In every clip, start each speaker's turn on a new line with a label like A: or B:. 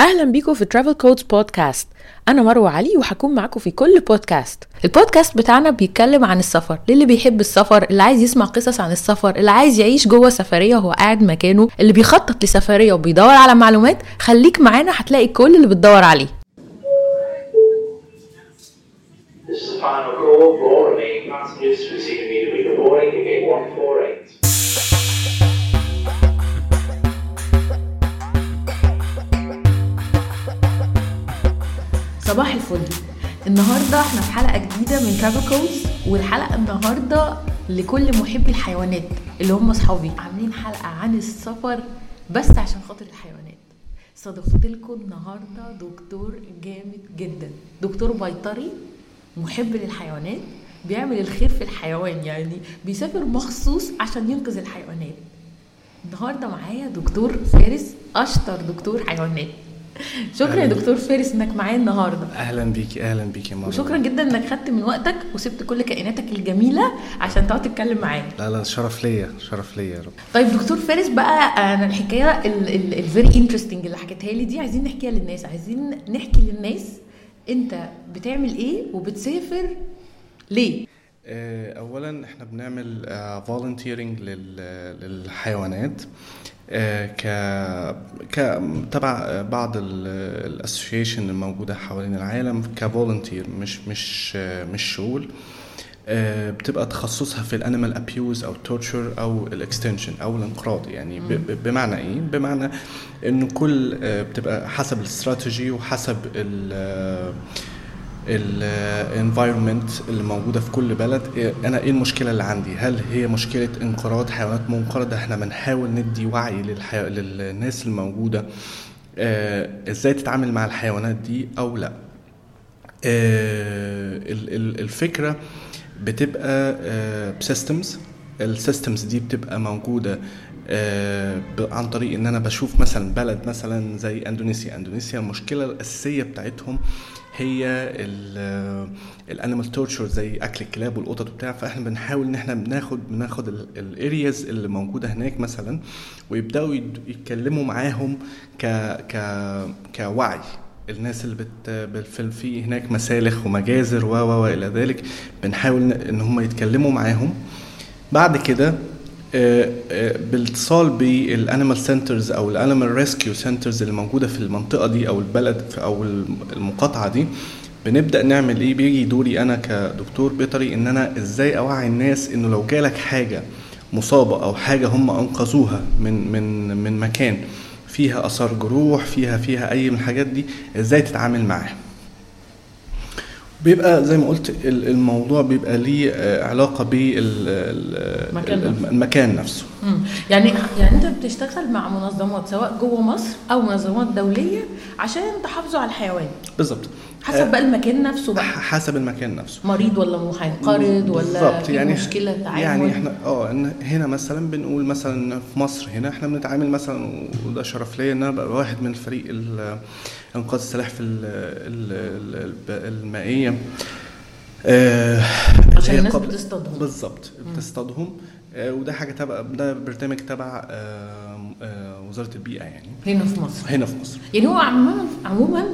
A: اهلا بيكم في ترافل كودز بودكاست انا مروه علي وهكون معاكم في كل بودكاست البودكاست بتاعنا بيتكلم عن السفر للي بيحب السفر اللي عايز يسمع قصص عن السفر اللي عايز يعيش جوه سفريه وهو قاعد مكانه اللي بيخطط لسفريه وبيدور على معلومات خليك معانا هتلاقي كل اللي بتدور عليه
B: This is the final call for all remaining passengers to receive immediately reporting to gate 148.
A: صباح الفل النهارده احنا في حلقه جديده من ترافل كودز والحلقه النهارده لكل محبي الحيوانات اللي هم اصحابي عاملين حلقه عن السفر بس عشان خاطر الحيوانات صدفت لكم النهارده دكتور جامد جدا دكتور بيطري محب للحيوانات بيعمل الخير في الحيوان يعني بيسافر مخصوص عشان ينقذ الحيوانات النهارده معايا دكتور فارس اشطر دكتور حيوانات شكرا يا
C: أهلاً.
A: دكتور فارس انك معايا النهارده
C: اهلا بيكي اهلا بيكي يا مروه
A: وشكرا جدا انك خدت من وقتك وسبت كل كائناتك الجميله عشان تقعد تتكلم معانا
C: لا لا شرف ليا شرف ليا يا رب
A: طيب دكتور فارس بقى انا الحكايه الفيري انترستنج اللي حكيتها لي دي عايزين نحكيها للناس عايزين نحكي للناس انت بتعمل ايه وبتسافر ليه
C: آه، اولا احنا بنعمل فولنتيرنج للحيوانات آه، ك ك تبع بعض الاسوشيشن الموجوده حوالين العالم كفولنتير مش مش آه، مش شغل آه، بتبقى تخصصها في الانيمال ابيوز او تورتشر او الاكستنشن او الانقراض يعني ب- ب- بمعنى ايه بمعنى انه كل آه، بتبقى حسب الاستراتيجي وحسب ال آه، الانفايرمنت اللي موجوده في كل بلد إيه- انا ايه المشكله اللي عندي هل هي مشكله انقراض حيوانات منقرضه احنا بنحاول ندي وعي للحي... للناس الموجوده آه، ازاي تتعامل مع الحيوانات دي او لا آه، ال- ال- الفكره بتبقى بسيستمز السيستمز دي بتبقى موجوده آه، ب- عن طريق ان انا بشوف مثلا بلد مثلا زي اندونيسيا اندونيسيا المشكله الاساسيه بتاعتهم هي الانيمال تورتشر زي اكل الكلاب والقطط وبتاع فاحنا بنحاول ان احنا بناخد بناخد الارياز اللي موجوده هناك مثلا ويبداوا يد- يتكلموا معاهم ك ك كوعي الناس اللي بت بالفيلم في هناك مسالخ ومجازر و و والى ذلك بنحاول ن- ان هم يتكلموا معاهم بعد كده آه، آه، بالاتصال بالانيمال سنترز او الانيمال ريسكيو سنترز اللي موجوده في المنطقه دي او البلد في- او الم- المقاطعه دي بنبدا نعمل ايه بيجي دوري انا كدكتور بيطري ان انا ازاي اوعي الناس انه لو جالك حاجه مصابه او حاجه هم انقذوها من من من مكان فيها اثار جروح فيها فيها اي من الحاجات دي ازاي تتعامل معاها بيبقى زي ما قلت ال- الموضوع بيبقى ليه آه، علاقه
A: مكان نفسه.
C: بالمكان نفسه
A: مم. يعني يعني انت بتشتغل مع منظمات سواء جوه مصر او منظمات دوليه عشان تحافظوا على الحيوان
C: بالظبط
A: حسب بقى المكان نفسه
C: آه،
A: بقى
C: حسب المكان نفسه
A: مريض ولا مو- هينقرض ولا
C: بالظبط
A: في
C: يعني
A: مشكله تعامل
C: يعني احنا اه إن هنا مثلا بنقول مثلا في مصر هنا احنا بنتعامل مثلا وده شرف ليا ان انا ابقى واحد من الفريق ال- انقاذ السلاحف ال- ال- ال- المائيه آه،
A: عشان
C: هي
A: الناس
C: قبل-
A: بتصطادهم.
C: بالظبط بتصطادهم آه، وده حاجه تبع ده برنامج تبع آه، آه، وزاره البيئه يعني
A: هنا في مصر
C: هنا في مصر
A: يعني هو عموما عموما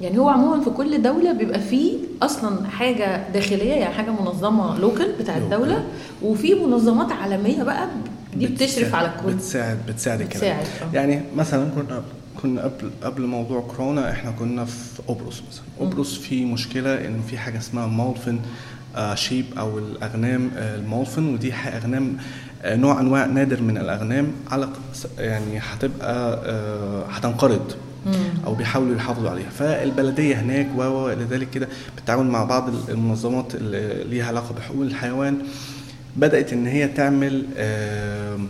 A: يعني هو عموما في كل دولة بيبقى فيه أصلا حاجة داخلية يعني حاجة منظمة لوكال بتاع
C: Local.
A: الدولة وفي منظمات عالمية بقى دي بتشرف
C: بتساعد-
A: على الكل
C: بتساعد بتساعد الكلام
A: بتساعد، آه.
C: يعني مثلا كنا كنا قبل قبل موضوع كورونا احنا كنا في قبرص مثلا قبرص في مشكله ان في حاجه اسمها مولفن آه شيب او الاغنام آه المولفن ودي ح- اغنام آه نوع انواع نادر من الاغنام على ق- س- يعني هتبقى آه هتنقرض او بيحاولوا يحافظوا عليها فالبلديه هناك و و الى ذلك كده بالتعاون مع بعض المنظمات اللي ليها علاقه بحقوق الحيوان بدات ان هي تعمل آم،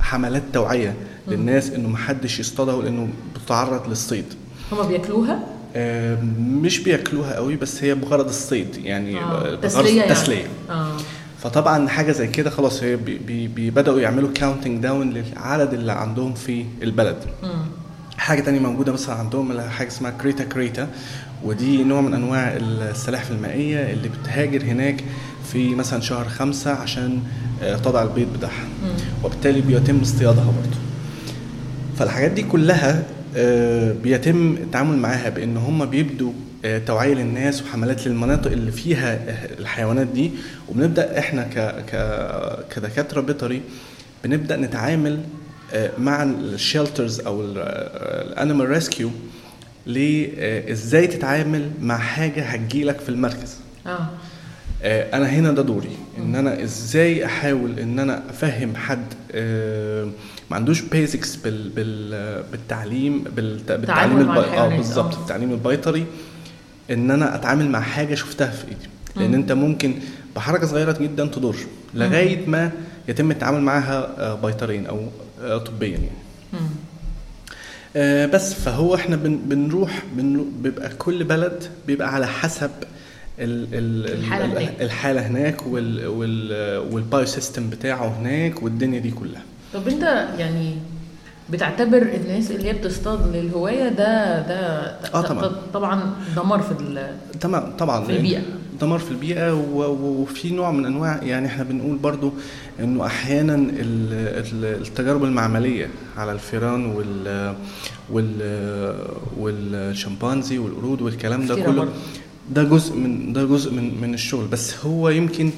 C: حملات توعيه للناس انه محدش يصطادها لانه بتتعرض للصيد
A: هما بياكلوها
C: آم، مش بياكلوها قوي بس هي بغرض الصيد يعني
A: آه،
C: بغرض
A: تسلية يعني.
C: تسلية.
A: اه
C: فطبعا حاجه زي كده خلاص هي بي- بي- بي- بداوا يعملوا كاونتنج داون للعدد اللي عندهم في البلد
A: مم.
C: حاجه تانية موجوده مثلا عندهم اللي حاجه اسمها كريتا كريتا ودي نوع من انواع السلاحف المائيه اللي بتهاجر هناك في مثلا شهر خمسة عشان آه، تضع البيض بتاعها وبالتالي بيتم اصطيادها برضه فالحاجات دي كلها آه، بيتم التعامل معاها بان هم بيبدوا آه، توعيه للناس وحملات للمناطق اللي فيها آه، الحيوانات دي وبنبدا احنا ك ك كدكاتره بيطري بنبدا نتعامل آه، مع الشيلترز آه، او الانيمال ريسكيو ازاي آه، تتعامل مع حاجه هتجيلك في المركز
A: اه
C: آه، انا هنا ده دوري ان انا ازاي احاول ان انا افهم حد آه، ما عندوش بيزكس بال بال بالتعليم بالت- بالتعليم
A: مع
C: البي-
A: الحيوانات،
C: اه بالظبط
A: آه.
C: التعليم البيطري ان انا اتعامل مع حاجه شفتها في ايدي لان
A: مم.
C: انت ممكن بحركه صغيره جدا تضر لغايه ما يتم التعامل معاها آه، بيطريا او آه، طبيا يعني
A: مم.
C: آه، بس فهو احنا بن- بنروح بنرو- بيبقى كل بلد بيبقى على حسب ال ال
A: الحالة
C: ال-
A: هناك.
C: الحاله هناك وال وال والبايو سيستم بتاعه هناك والدنيا دي كلها
A: طب انت يعني بتعتبر الناس اللي هي بتصطاد للهوايه ده ده
C: آه طبعاً.
A: ط- طبعا دمار في ال-
C: تمام طبعا
A: في البيئة.
C: دمار في البيئه و- و- وفي نوع من انواع يعني احنا بنقول برضو انه احيانا ال- ال- التجارب المعمليه على الفيران وال وال والشمبانزي والقرود والكلام ده
A: كتيرة
C: كله
A: برضو.
C: ده جزء من ده جزء من من الشغل بس هو يمكن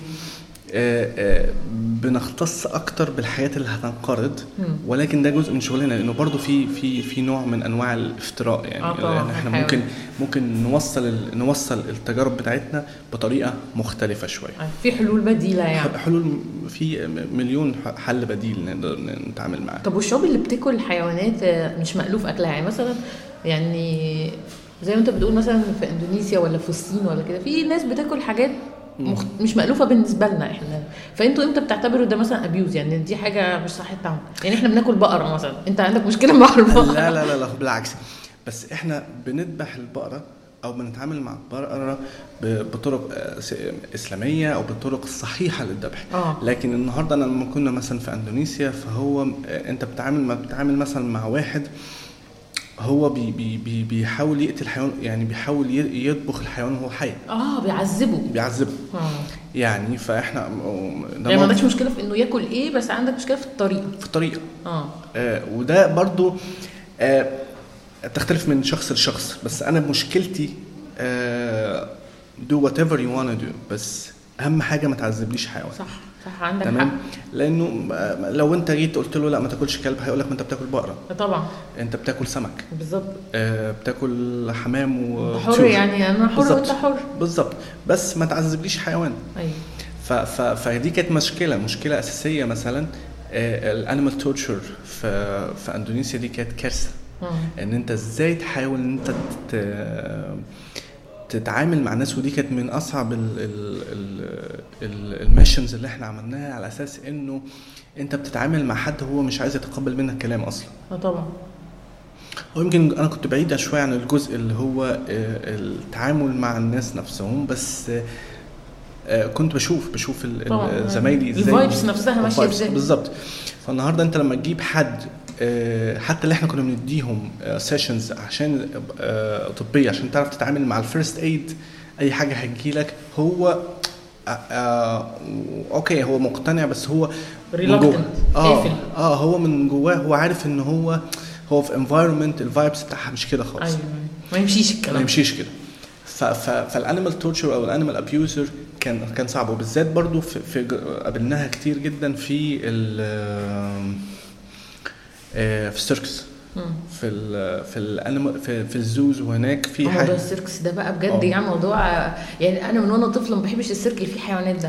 C: آه، آه، بنختص اكتر بالحاجات اللي هتنقرض
A: مم.
C: ولكن ده جزء من شغلنا لانه برضو في في في نوع من انواع الافتراء يعني
A: آه طبعاً،
C: يعني احنا
A: الحيوان.
C: ممكن ممكن نوصل ال- نوصل التجارب بتاعتنا بطريقه مختلفه شويه
A: في حلول بديله يعني
C: حلول في م- مليون ح- حل بديل نقدر نتعامل معاه
A: طب والشعوب اللي بتاكل الحيوانات آه، مش مألوف اكلها يعني مثلا يعني زي ما انت بتقول مثلا في اندونيسيا ولا في الصين ولا كده في ناس بتاكل حاجات مخ... مش مألوفه بالنسبه لنا احنا فانتوا امتى بتعتبروا ده مثلا ابيوز يعني دي حاجه مش صح التعامل يعني احنا بناكل بقره مثلا انت عندك مشكله مع البقره
C: لا لا لا لا بالعكس بس احنا بنذبح البقره او بنتعامل مع البقره ب- بطرق آه، س- اسلاميه او بالطرق الصحيحه للذبح
A: اه
C: لكن النهارده أنا لما كنا مثلا في اندونيسيا فهو م- آه، انت بتتعامل ما بتتعامل مثلا مع واحد هو بي بي بي بيحاول يقتل الحيوان يعني بيحاول ي- يطبخ الحيوان وهو حي
A: اه بيعذبوا
C: بيعذبه
A: اه
C: يعني فاحنا م- ده
A: يعني ما
C: موضوع
A: عندكش مشكله في انه ياكل ايه بس عندك مشكله في الطريقه
C: في الطريقه
A: اه
C: آه، وده برضو آه، تختلف من شخص لشخص بس انا مشكلتي آه، do whatever you wanna do بس اهم حاجه ما تعذبليش حيوان
A: صح صح عندك
C: تمام لانه آه، لو انت جيت قلت له لا ما تاكلش كلب هيقول لك ما انت بتاكل بقره
A: حق طبعا
C: انت بتاكل سمك
A: بالظبط
C: آه، بتاكل حمام
A: انت
C: و
A: حر يعني انا حر
C: بالظبط.
A: وانت حر
C: بالظبط بس ما تعذبليش حيوان
A: ايوه
C: ف ف فدي كانت مشكله مشكله اساسيه مثلا الانيمال آه، تورتشر في في اندونيسيا دي كانت كارثه
A: آه.
C: ان انت ازاي تحاول ان انت تت- تتعامل مع ناس ودي كانت من اصعب الميشنز اللي احنا عملناها على اساس انه انت بتتعامل مع حد هو مش عايز يتقبل منك كلام اصلا
A: اه طبعا
C: هو يمكن انا كنت بعيده شويه عن الجزء اللي هو آه، التعامل مع الناس نفسهم بس آه، آه، كنت بشوف بشوف ال- ال-
A: طبعاً.
C: زمايلي ازاي
A: الvibes نفسها ماشية
C: الvibes
A: ازاي.
C: بالظبط فالنهارده انت لما تجيب حد آه، حتى اللي احنا كنا بنديهم سيشنز عشان آه، طبيه عشان تعرف تتعامل مع الفيرست ايد اي حاجه هتجيلك هو آه، آه، اوكي هو مقتنع بس هو من جوه.
A: Reluctant.
C: اه
A: قافل.
C: اه هو من جواه هو عارف ان هو هو في انفايرمنت الفايبس بتاعها مش كده خالص
A: ايوه ما يمشيش
C: ما
A: الكلام
C: يمشيش كده ف- ف- فالانيمال تورتشر او الانيمال ابيوزر كان كان صعب وبالذات برضو في, في ج- قابلناها كتير جدا في ال آه، في السيركس
A: مم.
C: في ال في الانيمال في, في الزوز وهناك في
A: موضوع
C: حاجه
A: السيركس ده بقى بجد
C: آه.
A: يعني موضوع يعني انا من وانا طفله ما بحبش السيرك اللي فيه حيوانات ده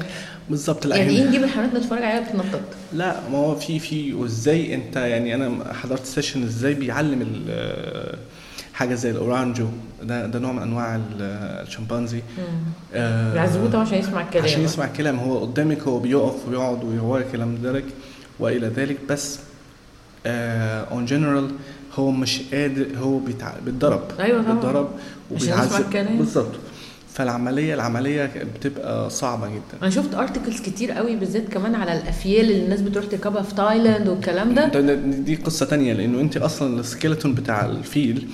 C: بالظبط
A: يعني ايه
C: الأهالي.
A: نجيب الحيوانات نتفرج عليها بتنطط
C: لا ما هو في في وازاي انت يعني انا حضرت سيشن ازاي بيعلم ال- آه، حاجه زي الاورانجو ده ده نوع من انواع ال- آه، الشمبانزي آه،
A: بيعذبوه طبعا عشان يسمع الكلام
C: عشان يسمع الكلام هو قدامك هو بيقف ويقعد وهو كلام ذلك والى ذلك بس اون جنرال هو مش قادر هو بيتع... بيتضرب
A: أيوة طبعاً.
C: بيتضرب
A: يسمع الكلام.
C: بالظبط فالعمليه العمليه بتبقى صعبه جدا
A: انا شفت ارتكلز كتير قوي بالذات كمان على الافيال اللي الناس بتروح تركبها في تايلاند والكلام ده
C: ده- ده- دي قصه تانية لانه انت اصلا السكيلتون بتاع الفيل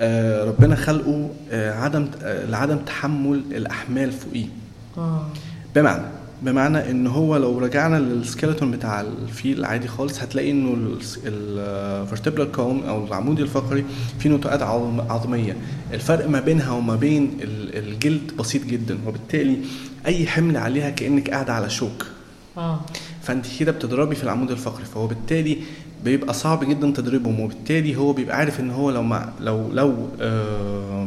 C: آه، ربنا خلقه آه، عدم آه، لعدم تحمل الاحمال فوقيه
A: اه
C: بمعنى بمعنى ان هو لو رجعنا للسكيلتون بتاع الفيل العادي خالص هتلاقي انه آه، الفرتبرال كولم او العمود الفقري فيه نتوءات عظم عظميه الفرق ما بينها وما بين ال- الجلد بسيط جدا وبالتالي اي حمل عليها كانك قاعده على شوك
A: اه
C: فانت كده بتضربي في العمود الفقري فهو بالتالي بيبقى صعب جدا تضريبهم وبالتالي هو بيبقى عارف ان هو لو ما لو لو آه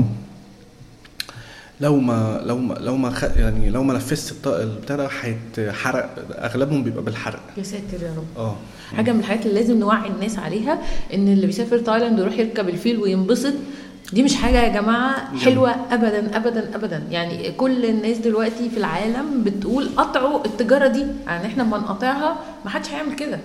C: لو ما لو ما لو ما خ... يعني لو ما نفذت الط- البتاع ده هيتحرق اغلبهم بيبقى بالحرق
A: يا ساتر يا رب
C: اه
A: حاجه من الحاجات اللي لازم نوعي الناس عليها ان اللي بيسافر تايلاند ويروح يركب الفيل وينبسط دي مش حاجه يا جماعه حلوه ابدا ابدا ابدا يعني كل الناس دلوقتي في العالم بتقول قطعوا التجاره دي يعني احنا اما نقاطعها ما حدش هيعمل كده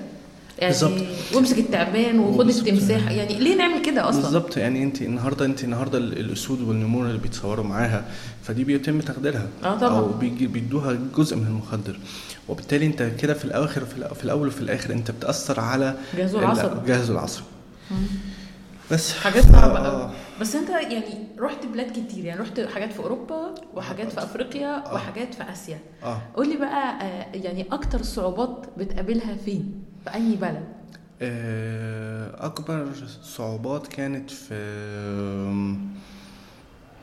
A: يعني
C: بالظبط.
A: وامسك التعبان وخد
C: بالظبط.
A: التمساح يعني ليه نعمل كده اصلا
C: بالظبط يعني انت النهارده انت النهارده ال- الاسود والنمور اللي بيتصوروا معاها فدي بيتم تخديرها
A: آه طبعاً.
C: او بيجي- بيدوها جزء من المخدر وبالتالي انت كده في الاخر في الأ- في الاول وفي الاخر انت بتاثر على
A: جهاز
C: ال-
A: العصب.
C: جهاز العصب بس
A: حاجات صعبه
C: آه.
A: قوي بس انت يعني رحت بلاد كتير يعني رحت حاجات في اوروبا وحاجات في
C: آه.
A: افريقيا وحاجات في اسيا
C: اه
A: قولي بقى آه، يعني اكتر صعوبات بتقابلها فين في اي بلد
C: آه، اكبر صعوبات كانت في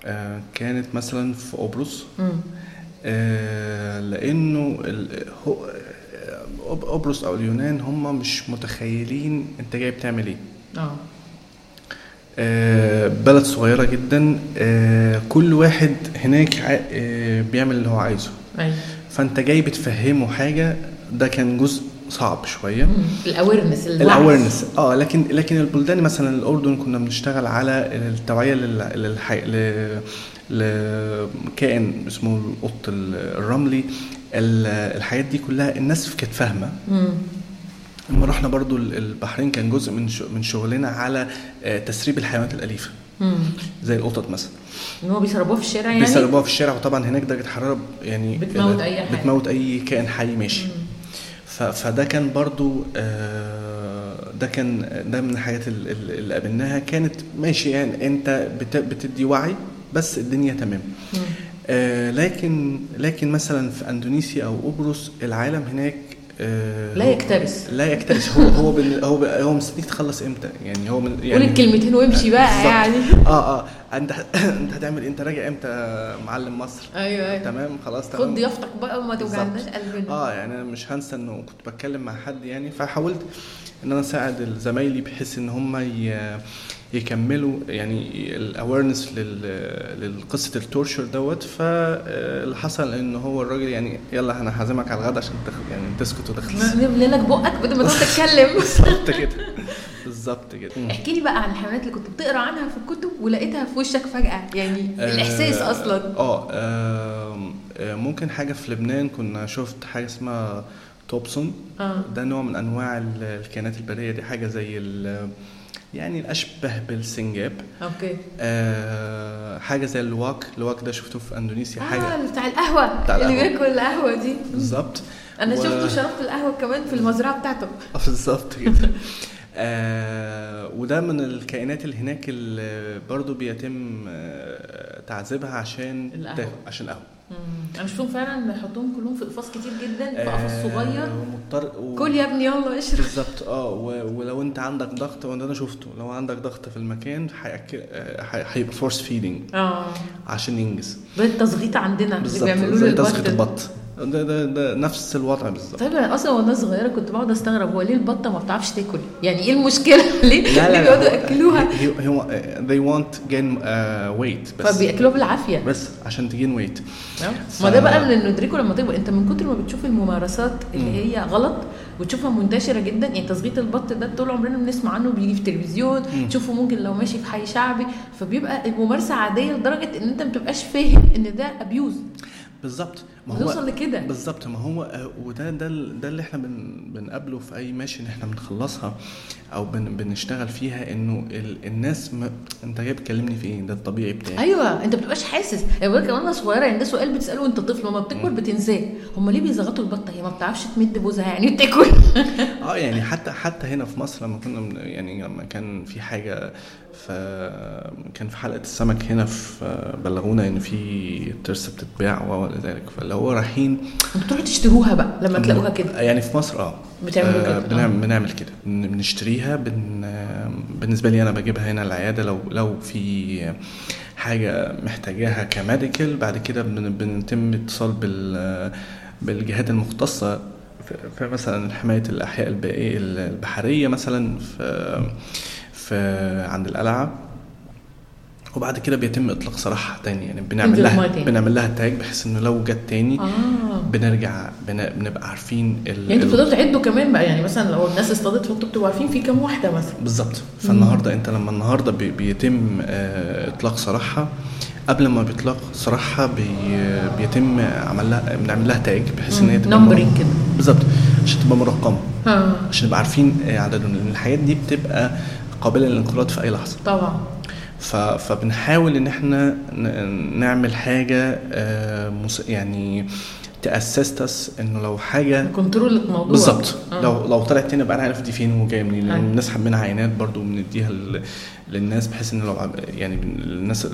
C: آه، كانت مثلا في قبرص
A: مم.
C: آه، لانه ال- هو- آه، قب- قبرص او اليونان هم مش متخيلين انت جاي بتعمل ايه
A: اه
C: آه، بلد صغيره جدا آه، كل واحد هناك ع- آه، بيعمل اللي هو عايزه
A: ايوه
C: فانت جاي بتفهمه حاجه ده كان جزء صعب شويه
A: الاويرنس
C: الاويرنس اه لكن لكن البلدان مثلا الاردن كنا بنشتغل على التوعيه لل- للحي... ل... لكائن اسمه القط الرملي ال- الحاجات دي كلها الناس كانت فاهمه لما رحنا برضو ال- البحرين كان جزء من ش... من شغلنا على آه، تسريب الحيوانات الاليفه زي القطط مثلا
A: ان هو بيسربوها في الشارع يعني
C: بيسربوها في الشارع وطبعا هناك درجه حراره يعني
A: بتموت أي حاجة.
C: بتموت اي كائن حي ماشي ف- فده كان برضو آه، ده كان ده من الحاجات ال- ال- اللي قابلناها كانت ماشي يعني انت بت- بتدي وعي بس الدنيا تمام آه، لكن لكن مثلا في اندونيسيا او قبرص العالم هناك آه،
A: لا
C: هو-
A: يكترث.
C: لا يكترث هو هو بال- هو بال- هو مستنيك تخلص امتى يعني هو من
A: قول
C: يعني
A: الكلمتين وامشي بقى
C: بالظبط.
A: يعني
C: اه اه انت انت هتعمل إيه؟ انت راجع امتى يا معلم مصر
A: ايوه ايوه
C: تمام خلاص أيوة، تمام
A: خد ضيافتك بقى وما توجعناش قلبنا
C: اه يعني انا مش هنسى انه كنت بتكلم مع حد يعني فحاولت ان انا اساعد زمايلي بحيث ان هم ي- يكملوا يعني الاويرنس لقصه التورشر دوت فاللي حصل ان هو الراجل يعني يلا انا هعزمك على الغدا عشان تخ- يعني تسكت وتخلص
A: نملي لك بقك بدل ما تقعد تتكلم
C: بالظبط كده بالظبط كده
A: احكي لي بقى عن الحيوانات اللي كنت بتقرا عنها في الكتب ولقيتها في وشك فجأة يعني الاحساس
C: آه،
A: اصلا
C: اه آم، آه، ممكن حاجه في لبنان كنا شفت حاجه اسمها توبسون
A: آه.
C: ده نوع من انواع ال- الكائنات البريه دي حاجه زي ال يعني الاشبه بالسنجاب
A: اوكي
C: آه حاجه زي الواك الواك ده شفته في اندونيسيا حاجه
A: اه بتاع القهوه
C: بتاع
A: اللي
C: القهوة.
A: بياكل القهوه دي
C: بالظبط
A: انا
C: و-
A: شفته شربت القهوه كمان في المزرعه بتاعته
C: آه، بالظبط كده آه وده من الكائنات اللي هناك اللي برضه بيتم آه، تعذيبها عشان
A: القهوة.
C: تاكل- عشان قهوه
A: انا بشوفهم فعلا بيحطوهم كلهم في قفص كتير جدا في قفص
C: آه،
A: صغير
C: ومضطر و-
A: كل يا ابني يلا اشرب
C: بالظبط اه و- ولو انت عندك ضغط وده انا شفته لو عندك ضغط في المكان هيأكل- آه، هي- هيبقى فورس فيدنج
A: اه
C: عشان ينجز
A: ده التظغيط عندنا اللي
C: بالظبط
A: بيعملوا
C: زي
A: له
C: تسخيط
A: البط
C: البط ده, ده, ده نفس الوضع بالظبط
A: طيب انا اصلا وانا صغيره كنت بقعد استغرب هو ليه البطه ما بتعرفش تاكل؟ يعني ايه المشكله؟ ليه ليه بيقعدوا
C: هو-
A: ياكلوها؟
C: هي- هي- هو آه، they want gain آه، weight بس
A: فبياكلوها بالعافيه
C: بس عشان تجين ويت ف-
A: ما ده بقى اللي ندركه لما تكبر انت من كتر ما بتشوف الممارسات اللي هي غلط وتشوفها منتشره جدا يعني تسغيط البط ده طول عمرنا بنسمع عنه بيجي في التلفزيون تشوفه ممكن لو ماشي في حي شعبي فبيبقى الممارسه عاديه لدرجه ان انت ما بتبقاش فاهم ان ده ابيوز
C: بالظبط
A: بنوصل لكده.
C: بالظبط ما هو آه، وده ده ال- ده اللي احنا بن بنقابله في اي ماشي ان احنا بنخلصها او بن بنشتغل فيها انه ال الناس ما انت جاي بتكلمني في ايه ده الطبيعي بتاعي
A: ايوه انت ما بتبقاش حاسس يعني بقول لك وانا صغيره يعني ده سؤال بتساله وانت طفل لما بتكبر بتنساه هم ليه بيزغطوا البطه هي ما بتعرفش تمد بوزها يعني تاكل
C: اه يعني حتى حتى هنا في مصر لما كنا من- يعني لما كان في حاجه ف كان في حلقه السمك هنا في بلغونا ان في ترسه بتتباع و- والى ذلك فاللي هو رايحين
A: بتروحوا تشتروها بقى لما تلاقوها كده
C: يعني في مصر اه
A: بتعملوا كده،
C: آه،
A: آه.
C: بنعمل بنعمل كده بن- بنشتريها بن... آه، بالنسبه لي انا بجيبها هنا العياده لو لو في حاجه محتاجاها كميديكال بعد كده بن... بنتم اتصال بال آه، بالجهات المختصه في- في مثلا حمايه الاحياء البيئيه البحريه مثلا في في عند القلعه وبعد كده بيتم اطلاق سراحها تاني يعني بنعمل
A: تنزل
C: لها
A: المية تاني.
C: بنعمل لها تاج بحيث انه لو جت تاني
A: اه
C: بنرجع بن- بنبقى عارفين ال...
A: يعني انتوا
C: ال-
A: بتقدروا تعدوا كمان بقى يعني مثلا لو الناس اصطادت فانتوا بتبقوا عارفين في كام واحده مثلا
C: بالظبط فالنهارده انت لما النهارده بي- بيتم آه، اطلاق سراحها قبل ما بيطلق سراحها بي... بيتم عمل لها بنعمل لها تاج بحيث ان هي تبقى
A: نمبرنج
C: مر-
A: كده
C: بالظبط عشان تبقى مرقمه
A: ها
C: عشان نبقى عارفين آه، عددهم لان الحاجات دي بتبقى قابله للانقراض في اي لحظه
A: طبعا
C: ف... فبنحاول ان احنا ن... نعمل حاجه آه، مس... يعني تاسستس انه لو حاجه
A: كنترول الموضوع
C: بالظبط
A: آه.
C: لو لو طلعت تاني بقى انا عارف دي فين وجايه منين لان
A: أيوة.
C: بنسحب منها عينات برضو بنديها لل- للناس بحيث ان لو عم- يعني بن- الناس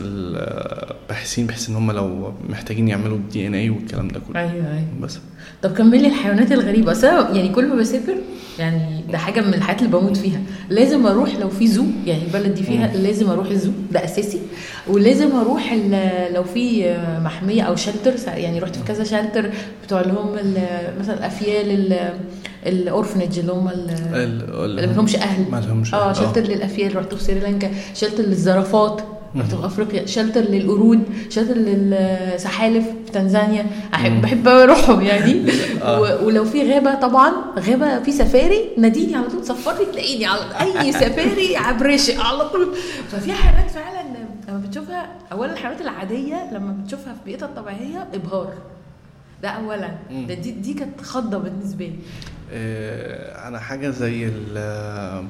C: الباحثين بحيث ان هم لو محتاجين يعملوا الدي ان اي والكلام ده كله
A: ايوه ايوه
C: بس
A: طب كملي الحيوانات الغريبه اصل أنا يعني كل ما بسافر يعني ده حاجه من الحاجات اللي بموت فيها لازم اروح لو في زو يعني البلد دي فيها لازم اروح الزو ده اساسي ولازم اروح ال- لو في محميه او شلتر يعني رحت في كذا شلتر بتوع اللي هم ال- مثلا الافيال ال- الاورفنج اللي هم ال- اللي
C: اللي
A: ملهمش اهل
C: ما لهمش آه.
A: اه شلتر للافيال رحت في سريلانكا شلتر للزرافات رحت في افريقيا شلتر للقرود شلتر للسحالف في تنزانيا
C: مم.
A: احب بحب اروحهم يعني
C: آه.
A: و- ولو في غابه طبعا غابه في سفاري ناديني على طول سفرني تلاقيني على اي سفاري عبرشق على طول ففي حيوانات فعلا لما بتشوفها اولا الحيوانات العاديه لما بتشوفها في بيئتها الطبيعيه ابهار ده اولا
C: مم.
A: ده دي دي كانت خضه بالنسبه لي
C: آه، انا حاجه زي ال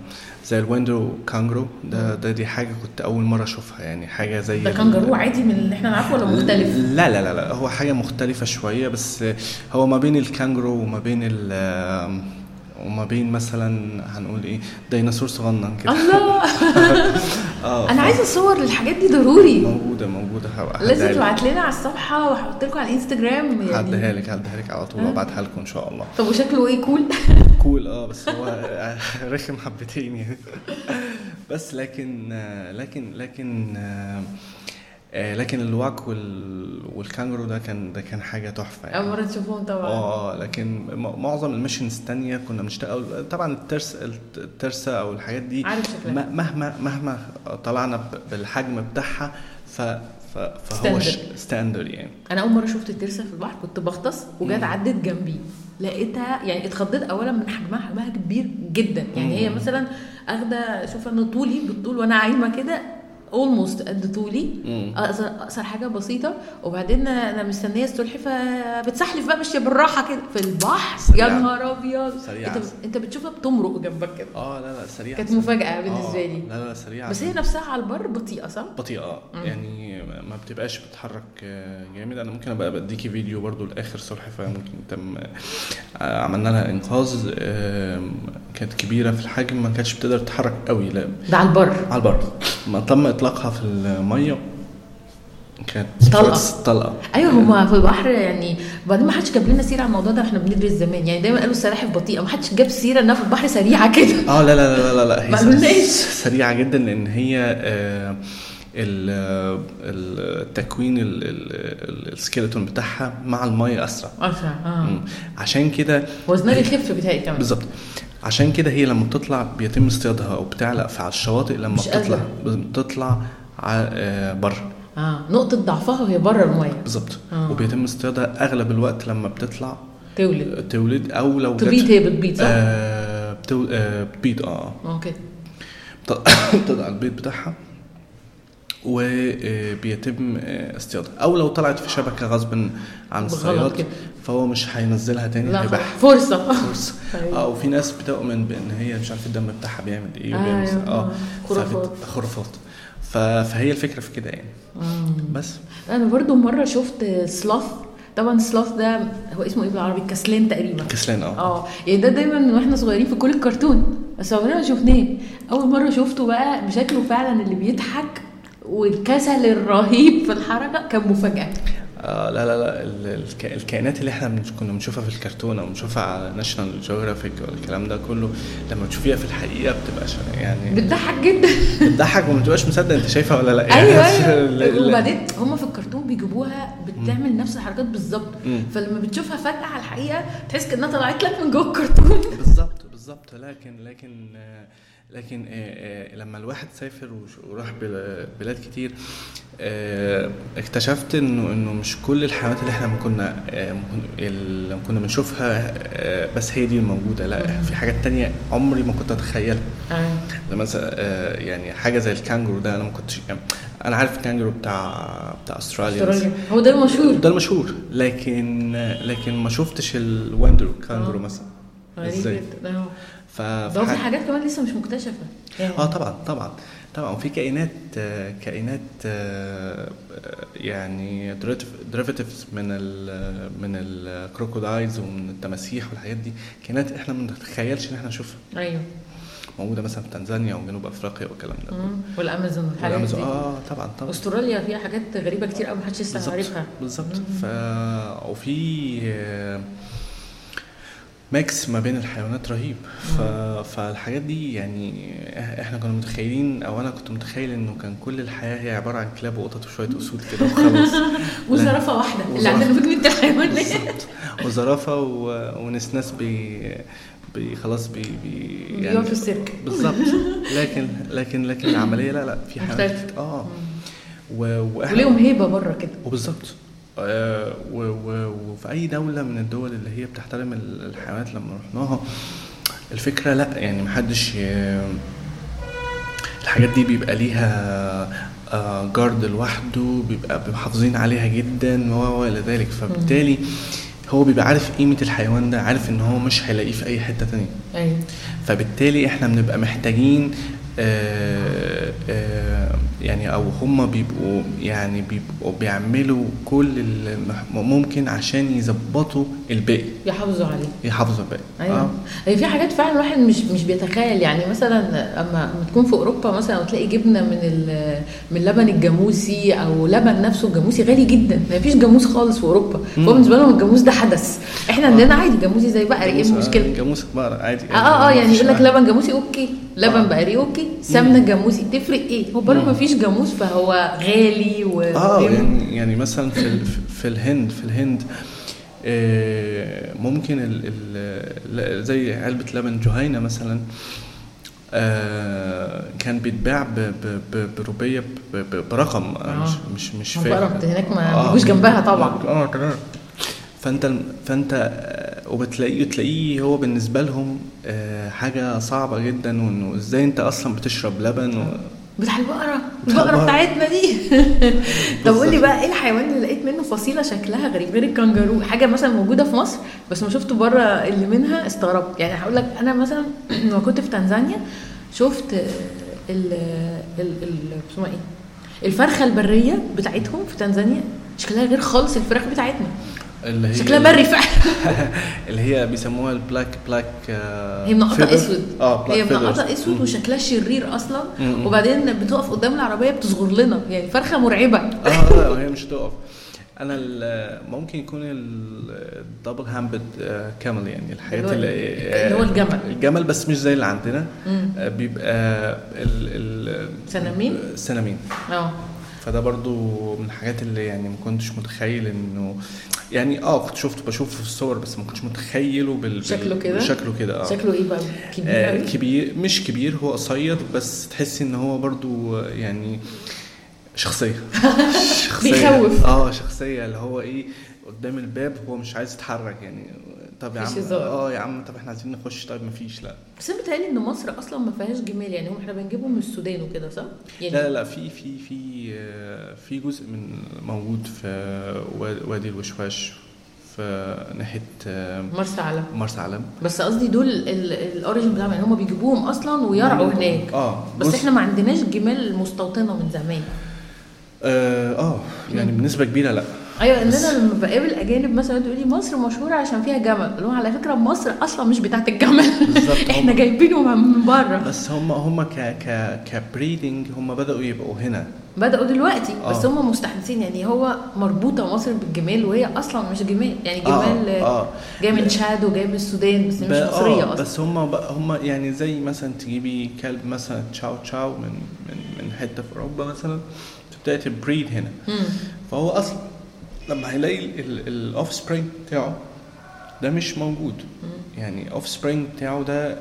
C: زي الويندو كانجرو ده ده دي حاجه كنت اول مره اشوفها يعني حاجه زي
A: آه. ده
C: ال-
A: كانجارو عادي من اللي احنا نعرفه ولا مختلف؟
C: لا لا لا, لا هو حاجة مختلفة شوية بس هو ما بين الكانجرو وما بين ال وما بين مثلا هنقول ايه ديناصور صغنن كده
A: الله
C: اه
A: انا عايزه صور للحاجات دي ضروري
C: موجودة موجودة هبقى
A: لازم يعني.
C: هديها لك.
A: تبعت لنا على الصفحه واحط لكم على الانستجرام
C: هديها
A: يعني
C: لك هديها لك على طول
A: آه.
C: وابعتها لكم ان شاء الله
A: طب وشكله ايه كول
C: كول اه بس هو رخم حبتين يعني بس لكن آه، لكن لكن آه، لكن الواك وال- والكانجرو ده كان ده كان حاجة تحفة يعني
A: اول مره تشوفهم طبعا
C: اه لكن م- معظم الميشنز الثانيه كنا بنشتغل طبعا الترس الت- الترسه او الحاجات دي
A: عارف شكلها.
C: م- مهما مهما طلعنا ب- بالحجم بتاعها ف ف- فهو
A: Standard.
C: ستاندرد يعني
A: انا اول مره شفت الترسه في البحر كنت بغطس وجت عدت جنبي لقيتها يعني اتخضيت اولا من حجمها حجمها كبير جدا يعني هي
C: مم.
A: مثلا اخده شوف انا طولي بالطول وانا عايمه كده اولموست قد طولي
C: مم.
A: اقصر اقصر حاجه بسيطه وبعدين انا مستنيه السلحفه فبتسحلف بقى ماشيه بالراحه كده في البحر يا
C: سريعة.
A: نهار ابيض
C: سريعة.
A: انت انت بتشوفها بتمرق جنبك كده
C: اه لا لا سريعه
A: كانت
C: سريعة.
A: مفاجأة بالنسبة
C: آه،
A: لي.
C: لا لا سريعه
A: بس هي نفسها على البر بطيئه صح؟
C: بطيئه
A: مم.
C: يعني ما بتبقاش بتتحرك آه، جامد انا ممكن ابقى بديكي فيديو برضو لاخر سلحفاه ممكن تم آه، عملنا لها انقاذ آه، كانت كبيره في الحجم ما كانتش بتقدر تتحرك قوي لا
A: ده على البر
C: على البر ما تم اطلاقها في الميه كانت
A: طلقة.
C: طلقه
A: ايوه هما في البحر يعني وبعدين ما حدش جاب لنا سيره على الموضوع ده واحنا بندرس زمان يعني دايما قالوا السلاحف بطيئه ما حدش جاب سيره انها في البحر سريعه كده
C: اه لا لا لا لا لا
A: ما
C: هي
A: قالولناش.
C: سريعه جدا لان هي آه، ال- آه، التكوين ال- ال- ال- السكيلتون بتاعها مع الميه اسرع
A: أسرع اه
C: مم. عشان كده
A: وزنها بيخف بتهيألي كمان
C: بالظبط عشان كده هي لما بتطلع بيتم اصطيادها او بتعلق في على الشواطئ لما
A: مش
C: بتطلع
A: قادرة.
C: بتطلع ع- آه، بره
A: اه نقطه ضعفها وهي بره الميه
C: بالظبط
A: آه.
C: وبيتم اصطيادها اغلب الوقت لما بتطلع
A: تولد
C: تولد او لو
A: تبيض
C: جت-
A: هي بتبيض صح؟
C: آه بتو... آه بتبيض اه
A: اوكي
C: بت- بتضع البيض بتاعها آه، وبيتم اصطيادها او آه، لو طلعت في شبكه غصب عن
A: بالغلط
C: الصياد
A: كده.
C: فهو مش هينزلها تاني
A: لا
C: هيبقى
A: فرصه
C: فرصه
A: أيوة.
C: اه وفي ناس بتؤمن بان هي مش عارفه الدم بتاعها بيعمل ايه وبيعمل
A: أيوة.
C: اه
A: خرافات.
C: فبت- خرافات ف- فهي الفكره في كده يعني
A: آه.
C: بس
A: انا برضو مره شفت سلاف طبعا سلاف ده هو اسمه ايه بالعربي كسلان تقريبا
C: كسلان اه
A: اه يعني ده دايما من واحنا صغيرين في كل الكرتون بس عمرنا ما شفناه اول مره شفته بقى بشكله فعلا اللي بيضحك والكسل الرهيب في الحركه كان مفاجاه
C: آه لا لا لا ال- الك- الكائنات اللي احنا بنش- كنا بنشوفها في الكرتون او بنشوفها على ناشونال جيوغرافيك والكلام ده كله لما تشوفيها في الحقيقه بتبقى شا- يعني
A: بتضحك جدا
C: بتضحك وما بتبقاش مصدق انت شايفها ولا لا يعني
A: ايوه
C: ال- ال-
A: ايوه وبعدين هم في الكرتون بيجيبوها بتعمل نفس الحركات بالظبط
C: مم.
A: فلما بتشوفها فجاه على الحقيقه تحس كانها طلعت لك من جوه الكرتون
C: بالظبط بالظبط لكن لكن آه، لكن آه، آه، لما الواحد سافر وش- وراح بل- بلاد كتير آه، اكتشفت انه انه مش كل الحيوانات اللي احنا كنا آه، ممكن- اللي كنا بنشوفها آه، بس هي دي الموجوده لا في حاجات تانية عمري ما كنت اتخيلها ده مثلا آه، يعني حاجه زي الكانجرو ده انا ما كنتش يعني انا عارف الكانجرو بتاع بتاع استراليا بس-
A: استراليا هو ده المشهور
C: ده المشهور لكن لكن ما شفتش الواندرو كانجرو
A: آه.
C: مثلا
A: غريب
C: إزاي؟
A: جدا آه.
C: ف
A: ده هو في حاجات كمان لسه مش مكتشفه يعني
C: اه طبعا طبعا طبعا وفي كائنات آه، كائنات آه، يعني ديريفيتيفز من ال من الكروكودايلز ومن التماسيح والحاجات دي كائنات احنا ما نتخيلش ان احنا نشوفها
A: ايوه
C: موجوده مثلا في تنزانيا وجنوب افريقيا والكلام ده
A: مم. والامازون والحاجات
C: والأمازون-
A: دي
C: اه طبعا طبعا
A: استراليا فيها حاجات غريبه كتير قوي محدش لسه
C: بالظبط
A: عارفها
C: بالظبط
A: مم.
C: ف وفي آه، ميكس ما بين الحيوانات رهيب ف... فالحاجات دي يعني إح- احنا كنا متخيلين او انا كنت متخيل انه كان كل الحياه هي عباره عن كلاب وقطط وشويه اسود كده وخلاص
A: وزرافه واحده اللي
C: وزرافة.
A: عندنا في جنينه الحيوانات
C: بالظبط وزرافه و... ونسناس بي... بي خلاص بي, بي يعني
A: بيقعد في السيرك
C: بالظبط لكن لكن لكن العمليه لا لا في حيوانات
A: مختلفة.
C: اه و... واحنا
A: وليهم هيبه بره كده
C: وبالظبط آه، و- و- وفي اي دوله من الدول اللي هي بتحترم ال- الحيوانات لما رحناها الفكره لا يعني محدش ي- الحاجات دي بيبقى ليها آه، جارد لوحده بيبقى محافظين عليها جدا و و الى ذلك فبالتالي هو بيبقى عارف قيمه الحيوان ده عارف ان هو مش هيلاقيه في اي حته تانية
A: ايوه
C: فبالتالي احنا بنبقى محتاجين آه، آه، يعني او هم بيبقوا يعني بيبقوا بيعملوا كل اللي مح- ممكن عشان يظبطوا الباقي
A: يحافظوا عليه
C: يحافظوا الباقي
A: ايوه
C: آه.
A: هي في حاجات فعلا الواحد مش مش بيتخيل يعني مثلا اما أما تكون في اوروبا مثلا وتلاقي جبنه من ال- من لبن الجاموسي او لبن نفسه الجاموسي غالي جدا ما فيش جاموس خالص في اوروبا
C: مم. آه.
A: فهو بالنسبه لهم الجاموس ده حدث احنا عندنا عادي جاموسي زي بقري ايه
C: جاموس- آه.
A: المشكله
C: جاموس بقرا عادي
A: اه اه اه يعني
C: مفيش
A: يقول لك
C: حاجة.
A: لبن جاموسي اوكي لبن بقري اوكي سمنه جاموسي تفرق ايه هو برضه
C: مم.
A: ما فيش جاموس فهو غالي و
C: اه يعني يعني مثلا في ال- في الهند في الهند آه، ممكن ال ال ل- زي علبة لبن جهينة مثلا آه، كان بيتباع ب- ب- ب- بربية ب- ب- برقم أنا مش
A: آه.
C: مش آه. مش
A: ما
C: فاهم
A: بقرا هناك ما بيجوش جنبها طبعا.
C: اه تمام فانت فانت آه، وبتلاقيه تلاقيه هو بالنسبه لهم آه، حاجه صعبه جدا وانه ازاي انت اصلا بتشرب لبن و...
A: بتاع البقرة
C: بتاع
A: البقرة
C: البقرة.
A: بتاعتنا دي طب قول لي بقى ايه الحيوان اللي لقيت منه فصيلة شكلها غريب غير الكنجارو حاجة مثلا موجودة في مصر بس ما شفته بره اللي منها استغربت يعني هقول لك انا مثلا لما كنت في تنزانيا شفت ال ال ال اسمها ايه الفرخة البرية بتاعتهم في تنزانيا شكلها غير خالص الفراخ بتاعتنا
C: اللي هي
A: شكلها بري فعلا
C: اللي هي بيسموها البلاك بلاك
A: هي منقطة اسود
C: اه
A: هي
C: آه، black feathers.
A: منقطة اسود
C: مم.
A: وشكلها شرير اصلا
C: مم.
A: وبعدين بتقف قدام العربية بتصغر لنا يعني فرخة مرعبة
C: اه آه، وهي مش هتقف انا ال- ممكن يكون الدبل هامبد كامل يعني
A: اللي
C: الحاجات
A: هو-
C: اللي آه،
A: اللي هو الجمل.
C: الجمل بس مش زي اللي عندنا
A: مم.
C: آه، بيبقى ال ال
A: سنامين؟
C: سنامين
A: اه
C: فده برضو من الحاجات اللي يعني ما كنتش متخيل انه يعني اه كنت شفت بشوفه في الصور بس ما كنتش متخيله بال بال-
A: شكله كده؟
C: شكله كده اه
A: شكله ايه بقى كبير
C: آه،
A: قوي
C: كبير مش كبير هو قصير بس تحسي ان هو برضو آه، يعني شخصيه شخصيه
A: بيخوف.
C: اه شخصيه اللي هو ايه قدام الباب هو مش عايز يتحرك يعني طب يا
A: مفيش
C: عم
A: هزار.
C: اه يا عم طب احنا عايزين نخش طيب مفيش لا
A: بس انا بتهيألي ان مصر اصلا ما فيهاش جمال يعني هم احنا بنجيبهم من السودان وكده صح؟ يعني
C: لا لا لا في في في آه، في جزء من موجود في آه، واد- وادي الوشواش في ناحيه آه،
A: مرسى علم
C: مرسى علم
A: بس قصدي دول ال- الاوريجن بتاعهم يعني هم بيجيبوهم اصلا ويرعوا هناك
C: اه
A: بس
C: جزء-
A: احنا ما عندناش جمال مستوطنه من زمان
C: اه آه، يعني بنسبه كبيره لا
A: ايوه ان
C: بس-
A: انا لما بقابل اجانب مثلا يقول لي مصر مشهوره عشان فيها جمل اللي هو على فكره مصر اصلا مش بتاعت الجمل
C: بالظبط.
A: احنا جايبينهم من بره
C: بس هم هم ك ك كبريدنج هم بدأوا يبقوا هنا
A: بدأوا دلوقتي
C: آه.
A: بس هم مستحدثين يعني هو مربوطة مصر بالجمال وهي أصلا مش جمال يعني
C: آه،
A: جمال
C: آه.
A: جاي من تشاد وجاي من السودان بس هي مش
C: بقى- آه،
A: مصرية أصلا
C: بس هم بقى- هم يعني زي مثلا تجيبي كلب مثلا تشاو تشاو من من من حته في اوروبا مثلا تبداي تبريد هنا
A: مم.
C: فهو اصلا لما هيلاقي الاوف سبرينج بتاعه ده مش موجود يعني اوف سبرينج بتاعه ده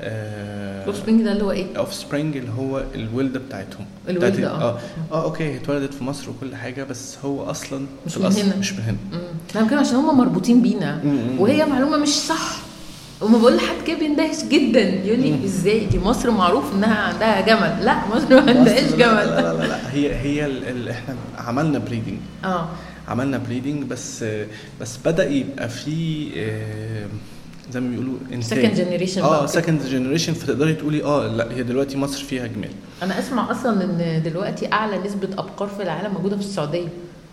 A: بوب سبرينج ده اللي هو إيه؟
C: اوف سبرينج اللي هو الولده بتاعتهم
A: الولدة،
C: بتاعت-
A: آه.
C: اه اه اوكي هي اتولدت في مصر وكل حاجه بس هو اصلا
A: مش
C: في
A: من
C: الأصل
A: هنا.
C: مش من هنا
A: مم. انا كده عشان هم مربوطين بينا
C: مم.
A: وهي معلومه مش صح وما بقول لحد كده بيندهش جدا يقول لي ازاي دي مصر معروف انها عندها جمل لا مصر ما عندهاش
C: لا لا
A: جمل
C: لا, لا, لا هي هي ال ال احنا عملنا بريدنج
A: اه
C: عملنا بريدنج بس بس بدا يبقى في آه، زي ما بيقولوا
A: Second generation
C: اه
A: بقى.
C: سكند جنريشن فتقدري تقولي اه لا هي دلوقتي مصر فيها جمال
A: انا اسمع اصلا ان دلوقتي اعلى نسبه ابقار في العالم موجوده في السعوديه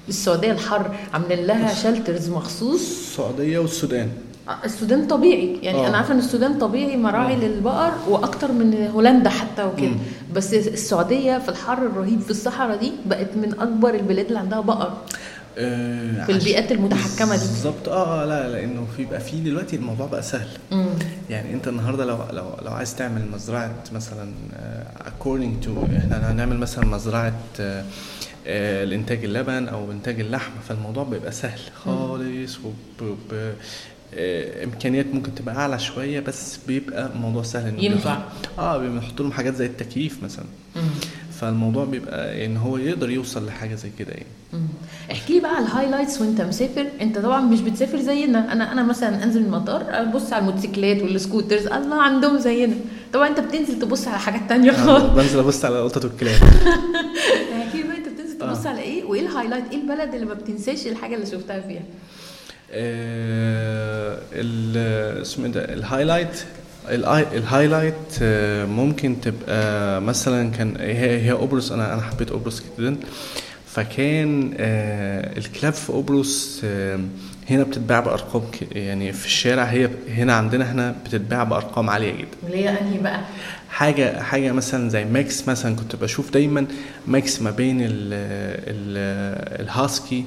A: السعوديه الحر عاملين لها شلترز مخصوص
C: السعوديه والسودان
A: آه، السودان طبيعي يعني
C: آه.
A: انا عارفه ان السودان طبيعي مراعي للبقر واكتر من هولندا حتى وكده
C: مم.
A: بس السعوديه في الحر الرهيب في الصحراء دي بقت من اكبر البلاد اللي عندها بقر
C: آه،
A: في البيئات المتحكمه دي
C: بالظبط اه آه، لا لانه في بقى في دلوقتي الموضوع بقى سهل
A: مم.
C: يعني انت النهارده لو لو لو عايز تعمل مزرعه مثلا آه، according to احنا هنعمل مثلا مزرعه آه، آه، لانتاج اللبن او انتاج اللحم فالموضوع بيبقى سهل خالص وب ب- آه، امكانيات ممكن تبقى اعلى شويه بس بيبقى الموضوع سهل انه
A: ينفع.
C: بيبقى- اه بنحط لهم حاجات زي التكييف مثلا
A: مم.
C: فالموضوع بيبقى ان هو يقدر يوصل لحاجه زي كده يعني
A: مم. احكي لي بقى على الهايلايتس وانت مسافر انت طبعا مش بتسافر زينا انا انا مثلا انزل المطار ابص على الموتوسيكلات والسكوترز الله عندهم زينا طبعا انت بتنزل تبص على حاجات تانية
C: أنا
A: خالص
C: بنزل ابص على قطط الكلاب
A: احكي لي بقى انت بتنزل تبص
C: آه.
A: على ايه وايه الهايلايت ايه البلد اللي ما بتنساش الحاجه اللي شفتها فيها
C: آه، ال- اسمه إيه ده الهايلايت الآي- الهايلايت آه، ممكن تبقى مثلا كان هي هي قبرص انا انا حبيت قبرص جدا فكان آه، الكلاب في قبرص آه، هنا بتتباع بارقام ك- يعني في الشارع هي هنا عندنا احنا بتتباع بارقام عاليه جدا
A: اللي هي انهي بقى
C: حاجه حاجه مثلا زي ميكس مثلا كنت بشوف دايما ميكس ما بين ال ال الهاسكي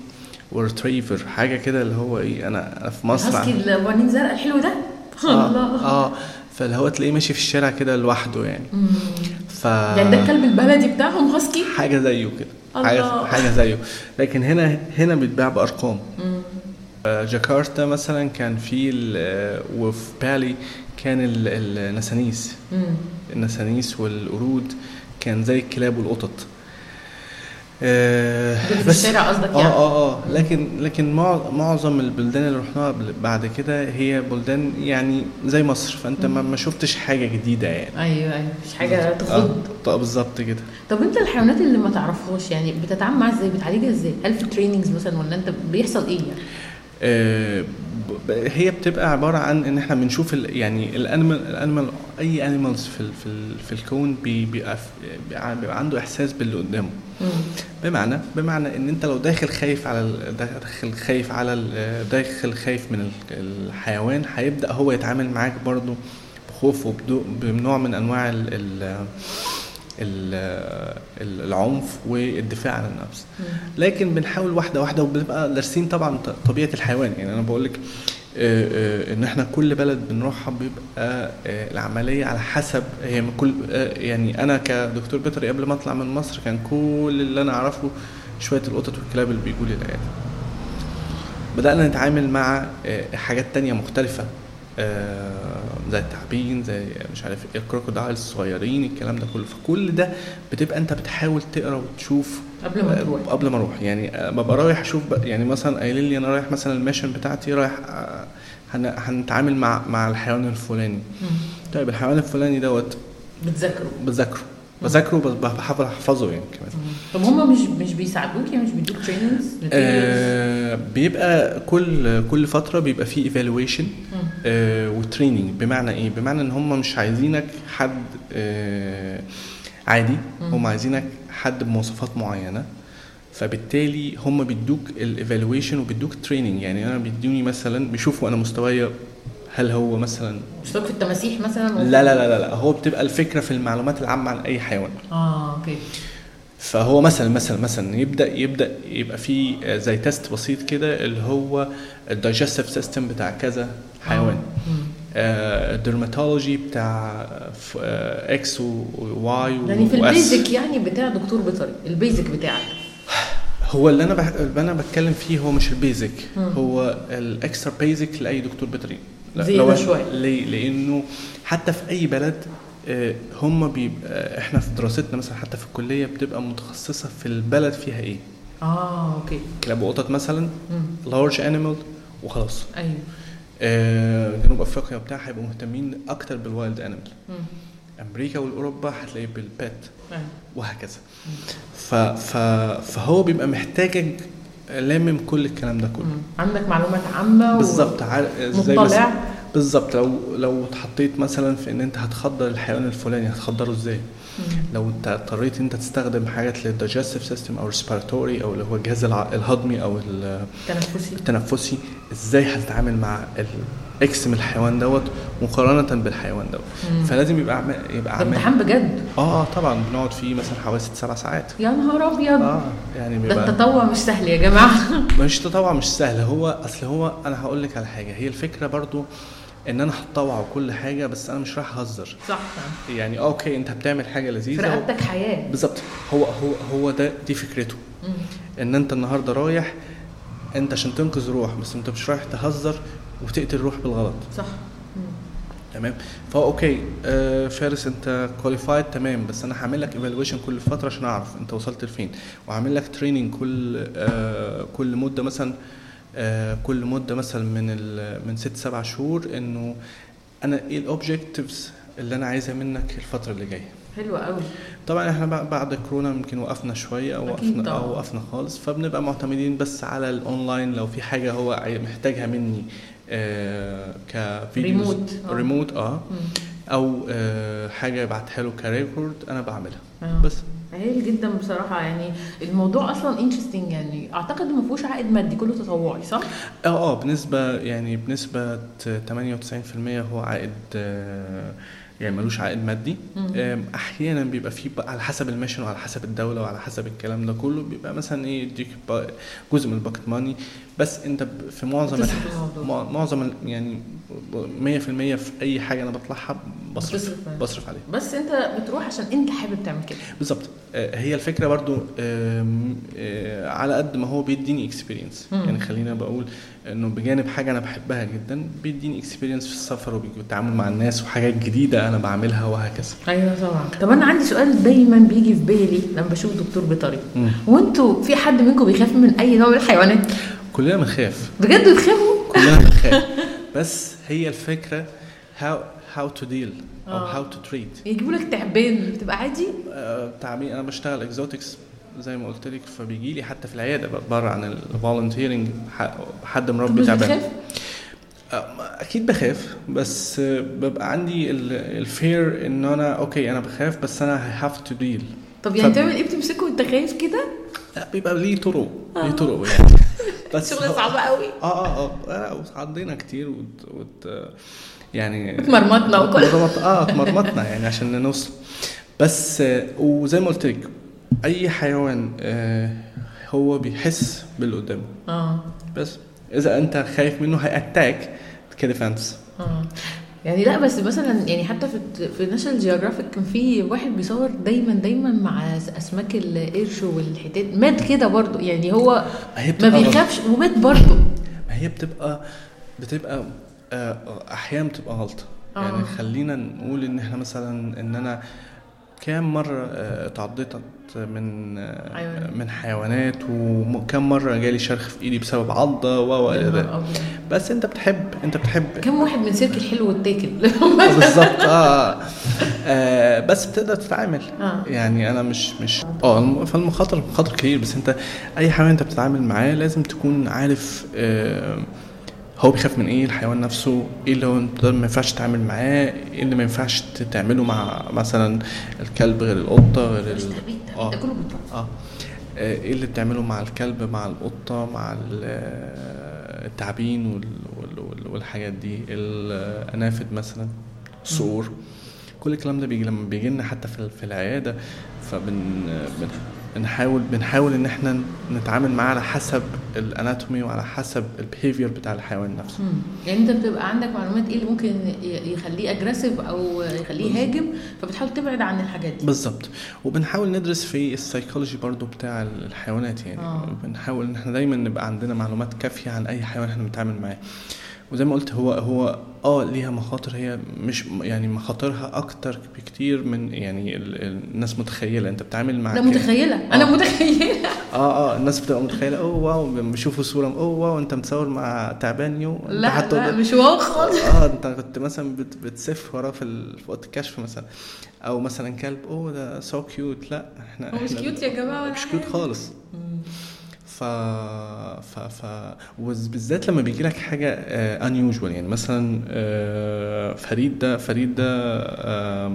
C: والريتريفر حاجه كده اللي هو ايه انا أنا في مصر
A: الهاسكي
C: عن-
A: البنين زرق الحلو ده الله
C: اه, آه فاللي هو تلاقيه ماشي في الشارع كده لوحده يعني
A: مم.
C: ف
A: يعني ده الكلب البلدي بتاعهم هاسكي
C: حاجه زيه كده حاجه
A: الله.
C: حاجه زيه لكن هنا هنا بيتباع بارقام
A: مم.
C: آه، جاكرتا مثلا كان في ال- آه، وفي بالي كان ال- النسانيس
A: مم.
C: النسانيس والقرود كان زي الكلاب والقطط آه،
A: دول في
C: بس-
A: الشارع قصدك
C: اه
A: يعني؟
C: اه اه لكن لكن مع- معظم البلدان اللي رحناها قبل- بعد كده هي بلدان يعني زي مصر فانت ما ما شفتش حاجه جديده يعني
A: ايوه ايوه مش حاجه تخض
C: آه، طب بالظبط كده
A: طب انت الحيوانات اللي ما تعرفهاش يعني بتتعامل معاها ازاي بتعالجها ازاي هل في تريننجز مثلا ولا انت بيحصل ايه يعني
C: آه، ب- هي بتبقى عباره عن ان احنا بنشوف ال- يعني الانيمال الانيمال اي انيمالز في ال- في ال- في الكون بي- بيبقى بيبقى بيبقى عنده احساس باللي قدامه بمعنى بمعنى ان انت لو داخل خايف على ال- داخل خايف على ال- داخل خايف من ال- الحيوان هيبدا هو يتعامل معاك برضه بخوف وبدو- بنوع من انواع ال ال ال- العنف والدفاع عن النفس لكن بنحاول واحده واحده وبنبقى دارسين طبعا ط- طبيعه الحيوان يعني انا بقول لك ان احنا كل بلد بنروحها بيبقى آه، العمليه على حسب هي من كل آه، يعني انا كدكتور بيطري قبل ما اطلع من مصر كان كل اللي انا اعرفه شويه القطط والكلاب اللي بيجوا لي العياده بدانا نتعامل مع آه، حاجات تانية مختلفه آه، زي التعابين زي مش عارف ايه الكروكودايل الصغيرين الكلام ده كله فكل ده بتبقى انت بتحاول تقرا وتشوف
A: قبل ما تروح
C: قبل ما اروح يعني آه، ببقى رايح اشوف بقى- يعني مثلا قايلين لي انا رايح مثلا الميشن بتاعتي رايح آه، هن- هنتعامل مع مع الحيوان الفلاني طيب الحيوان الفلاني دوت
A: بتذاكروا
C: بذاكره بذاكره بس بحاول احفظه يعني كمان
A: طب هما مش مش بيساعدوك يعني مش بيدوك تريننجز
C: آه بيبقى كل كل فتره بيبقى فيه ايفالويشن آه وتريننج بمعنى ايه بمعنى ان هم مش عايزينك حد آه عادي هم عايزينك حد بمواصفات معينه فبالتالي هم بيدوك الايفالويشن وبيدوك تريننج يعني انا بيدوني مثلا بيشوفوا انا مستوايا هل هو مثلا
A: مش في التماسيح مثلا آه،
C: لا لا لا لا, لا هو بتبقى الفكره في المعلومات العامه عن اي حيوان
A: اه اوكي
C: فهو مثلا مثلا مثلا يبدا يبدا يبقى في آه، زي تيست بسيط كده اللي هو الدايجستيف سيستم بتاع كذا حيوان الدرماتولوجي آه، بتاع ف- آه، اكس و- وواي و-
A: يعني في
C: واس
A: البيزك يعني بتاع دكتور بيطري البيزك بتاعك
C: هو اللي انا بح... اللي انا بتكلم فيه هو مش البيزك هو الاكسترا بيزك لاي دكتور بيطري لا-
A: زيادة
C: لو-
A: شوية.
C: ليه؟ لانه حتى في اي بلد آه، هم بيبقى احنا في دراستنا مثلا حتى في الكليه بتبقى متخصصه في البلد فيها ايه
A: اه اوكي
C: كلاب وقطط مثلا
A: مم.
C: لارج انيمال وخلاص
A: ايوه
C: آه، جنوب افريقيا وبتاع هيبقوا مهتمين اكتر بالوايلد انيمال
A: مم.
C: امريكا والاوروبا هتلاقيه بالبات
A: أيوة.
C: وهكذا ف ف فهو بيبقى محتاجك لامم كل الكلام ده كله
A: مم. عندك معلومات عامه و-
C: بالظبط عارف ازاي بس-
A: مطلع
C: بالظبط لو لو اتحطيت مثلا في ان انت هتخدر الحيوان الفلاني هتخدره ازاي
A: مم.
C: لو انت اضطريت انت تستخدم حاجات للدايجستيف سيستم او ريسبيراتوري او اللي هو الجهاز الع- الهضمي او ال-
A: تنفسي
C: التنفسي ازاي هتتعامل مع الاكس من الحيوان دوت مقارنه بالحيوان دوت
A: مم.
C: فلازم يبقى عم- يبقى
A: ده
C: عمال
A: امتحان بجد
C: اه طبعا بنقعد فيه مثلا حوالي ست سبع ساعات
A: يا نهار ابيض
C: اه يعني
A: ده
C: بيبقى
A: التطوع مش سهل يا جماعه
C: مش تطوع مش سهل هو اصل هو انا هقول لك على حاجه هي الفكره برضو ان انا هتطوع وكل حاجه بس انا مش رايح اهزر
A: صح
C: يعني اوكي انت بتعمل حاجه
A: في
C: لذيذه و...
A: رقبتك حياه
C: بالظبط هو هو هو ده دي فكرته
A: مم.
C: ان انت النهارده رايح انت عشان تنقذ روح بس انت مش رايح تهزر وتقتل روح بالغلط
A: صح مم.
C: تمام فهو اوكي آه فارس انت كواليفايد تمام بس انا هعمل لك ايفالويشن كل فتره عشان اعرف انت وصلت لفين وهعمل لك تريننج كل آه كل مده مثلا آه كل مده مثلا من ال- من ست سبع شهور انه انا ايه الاوبجكتيفز اللي انا عايزها منك الفتره اللي جايه
A: حلو قوي
C: طبعا احنا بع- بعد كورونا يمكن وقفنا شويه او
A: أكيد
C: وقفنا
A: طبعاً.
C: او وقفنا خالص فبنبقى معتمدين بس على الاونلاين لو في حاجه هو عاي- محتاجها مني آه كفيديوز
A: ريموت، آه.
C: ريموت اه
A: مم.
C: او آه حاجه يبعتها له كريكورد انا بعملها
A: آه.
C: بس
A: هايل جدا بصراحه يعني الموضوع اصلا انترستنج يعني اعتقد ما فيهوش عائد مادي كله تطوعي صح؟
C: اه اه بنسبه يعني بنسبه 98% هو عائد آه يعني ملوش عائد مادي
A: مم.
C: آم، احيانا بيبقى فيه بقى على حسب الميشن وعلى حسب الدوله وعلى حسب الكلام ده كله بيبقى مثلا ايه يديك بق- جزء من الباكت ماني بس انت ب- في معظم
A: بتصرف
C: الح-
A: الموضوع.
C: مع- معظم ال- يعني 100% في اي حاجه انا بطلعها بصرف
A: بتصرف عليها.
C: بصرف عليها
A: بس انت بتروح عشان انت حابب تعمل كده
C: بالظبط آه، هي الفكره برضو آم، آه، على قد ما هو بيديني اكسبيرينس
A: مم.
C: يعني خلينا بقول انه بجانب حاجه انا بحبها جدا بيديني اكسبيرينس في السفر وبالتعامل مع الناس وحاجات جديده انا بعملها وهكذا
A: ايوه طبعا طب انا عندي سؤال دايما بيجي في بالي لما بشوف دكتور بيطري
C: مم.
A: وانتوا في حد منكم بيخاف من اي نوع من الحيوانات
C: كلنا بنخاف
A: بجد بتخافوا
C: كلنا بنخاف بس هي الفكره هاو هاو تو ديل او
A: آه.
C: هاو تو تريت
A: يجيبوا لك تعبان بتبقى عادي
C: تعميق انا آه، بشتغل اكزوتكس زي ما قلت لك فبيجي لي حتى في العياده بره عن الفولنتيرنج حد
A: طب
C: مربي
A: مش
C: تعبان
A: بتخاف
C: اكيد أه، بخاف بس ببقى عندي الفير ان انا اوكي انا بخاف بس انا هاف تو ديل
A: طب يعني
C: طب-
A: تعمل ايه بتمسكه وانت خايف كده
C: بيبقى ليه طرق
A: آه.
C: ليه طرق يعني بس
A: شغله
C: هو-
A: صعبه قوي
C: اه اه اه آه، عضينا كتير وت... وت... يعني
A: اتمرمطنا وكل-
C: اتمرمط- اه اتمرمطنا يعني عشان نوصل بس آه، وزي ما قلت لك اي حيوان آه هو بيحس باللي قدامه
A: اه
C: بس اذا انت خايف منه هيأتاك كديفنس
A: اه يعني لا بس مثلا يعني حتى في في ناشونال جيوغرافيك كان في واحد بيصور دايما دايما مع اسماك القرش والحتات مات كده برضه يعني هو
C: هي
A: ما
C: بتبقى غلط.
A: بيخافش ومات برضه
C: ما هي بتبقى بتبقى آه، احيانا بتبقى غلطه
A: آه.
C: يعني خلينا نقول ان احنا مثلا ان انا كام مره آه، اتعضيت من آه،
A: أيوة.
C: من حيوانات وكم مره جالي شرخ في ايدي بسبب عضه و و
A: يا
C: إلى
A: نهار
C: ذلك.
A: أبيض.
C: بس انت بتحب انت بتحب
A: كم واحد من سيرك الحلو واتاكل
C: بالظبط آه. اه بس بتقدر تتعامل
A: آه.
C: يعني انا مش مش اه الم- فالمخاطر مخاطر كبير بس انت اي حيوان انت بتتعامل معاه لازم تكون عارف آه هو بيخاف من ايه الحيوان نفسه ايه اللي هو انت ما ينفعش تتعامل معاه ايه اللي ما ينفعش تعمله مع مثلا الكلب غير القطه غير
A: مش
C: ال...
A: ده بيت ده،
C: آه.
A: ده كله بيت.
C: اه آه، ايه اللي بتعمله مع الكلب مع القطة مع ال- آه، التعابين وال- وال- وال- والحاجات دي الانافد مثلا الصقور كل الكلام ده بيجي لما بيجي لنا حتى في في العيادة فبن بن- نحاول بنحاول ان احنا نتعامل معاه على حسب الاناتومي وعلى حسب البيهيفير بتاع الحيوان نفسه
A: مم. يعني انت بتبقى عندك معلومات ايه اللي ممكن ي- يخليه اجريسيف او يخليه يهاجم فبتحاول تبعد عن الحاجات دي
C: بالظبط وبنحاول ندرس في السيكولوجي برضو بتاع الحيوانات يعني
A: آه.
C: بنحاول ان احنا دايما نبقى عندنا معلومات كافيه عن اي حيوان احنا بنتعامل معاه وزي ما قلت هو هو اه ليها مخاطر هي مش يعني مخاطرها اكتر بكتير من يعني ال- ال- الناس متخيله انت بتتعامل مع
A: لا
C: كائن-
A: متخيله انا
C: آه.
A: متخيله
C: اه اه الناس بتبقى متخيله اوه واو بيشوفوا صوره اوه واو انت متصور مع تعبان يو أنت
A: لا
C: حاطه
A: لا مش واو خالص
C: اه انت كنت مثلا بت بتسف وراه في ال- في اوضه الكشف مثلا او مثلا كلب اوه ده سو كيوت لا احنا
A: هو مش يعني.
C: احنا-
A: كيوت يا جماعة ولا
C: آه، مش كيوت
A: حاجة.
C: خالص
A: مم.
C: ف ف ف وبالذات لما بيجي لك حاجه ان يوجوال يعني مثلا آه، فريد ده فريد ده آم،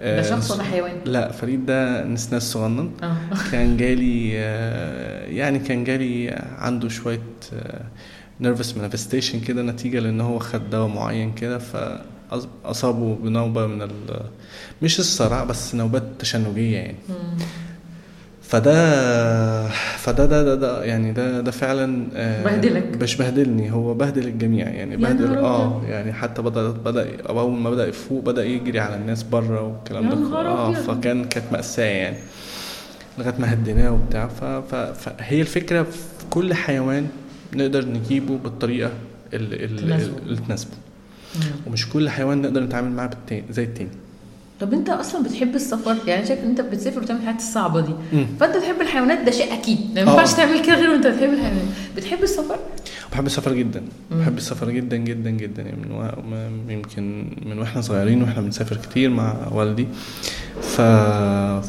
A: ده
C: آه،
A: شخص ولا حيوان؟
C: لا فريد ده نسناس صغنن
A: اه
C: كان جالي آه، يعني كان جالي عنده شويه نيرفس مانيفستيشن كده نتيجه لان هو خد دواء معين كده فاصابه بنوبه من ال مش الصرع بس نوبات تشنجيه يعني
A: مم.
C: فده فده ده ده, ده يعني ده ده فعلا آه،
A: بهدلك.
C: مش بهدلني هو بهدل الجميع يعني
A: يا
C: بهدل
A: نهار
C: اه
A: أبيض.
C: يعني حتى بدا بدا اول ما بدا يفوق بدا يجري على الناس بره والكلام
A: يا
C: ده كله.
A: نهار
C: اه
A: أبيض.
C: فكان كانت مأساة يعني لغايه ما هديناه وبتاع ف- ف- فهي الفكره في كل حيوان نقدر نجيبه بالطريقه ال- ال-
A: تناسبه.
C: ال- اللي تناسبه
A: مم.
C: ومش كل حيوان نقدر نتعامل معاه بالتاني زي التاني
A: طب انت اصلا بتحب السفر يعني شايف ان انت بتسافر وتعمل الحاجات الصعبه دي
C: مم.
A: فانت بتحب الحيوانات ده شيء اكيد ما
C: اه.
A: ينفعش تعمل كده غير وانت بتحب الحيوانات بتحب السفر
C: بحب السفر جدا بحب السفر جدا جدا جدا يعني من و... ما- يمكن من واحنا صغيرين واحنا بنسافر كتير مع والدي ف...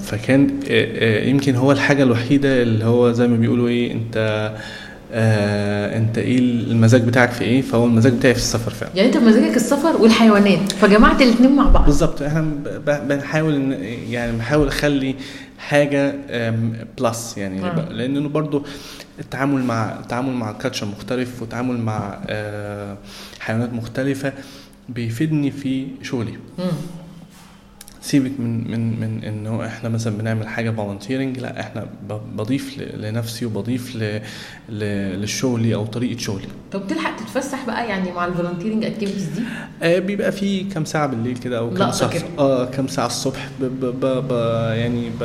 C: فكان آه، آه، يمكن هو الحاجة الوحيدة اللي هو زي ما بيقولوا ايه انت آه انت ايه المزاج بتاعك في ايه فهو المزاج بتاعي في السفر فعلا
A: يعني انت مزاجك السفر والحيوانات فجمعت الاثنين مع بعض
C: بالظبط احنا ب- ب- بنحاول إن- يعني بحاول اخلي حاجه بلس يعني
A: آه.
C: ب- لانه برضو التعامل مع التعامل مع كاتشر مختلف والتعامل مع آه، حيوانات مختلفه بيفيدني في شغلي
A: مم.
C: سيبك من من من انه احنا مثلا بنعمل حاجه فولنتيرنج لا احنا ب- بضيف ل- لنفسي وبضيف ل- ل- لشغلي او طريقه شغلي
A: طب تلحق تتفسح بقى يعني مع الفولنتيرنج اكتيفيتيز دي
C: آه، بيبقى في كام ساعة بالليل كده أو كام
A: لقطة
C: ساعة
A: كده.
C: اه كام ساعة الصبح ب ب ب ب يعني ب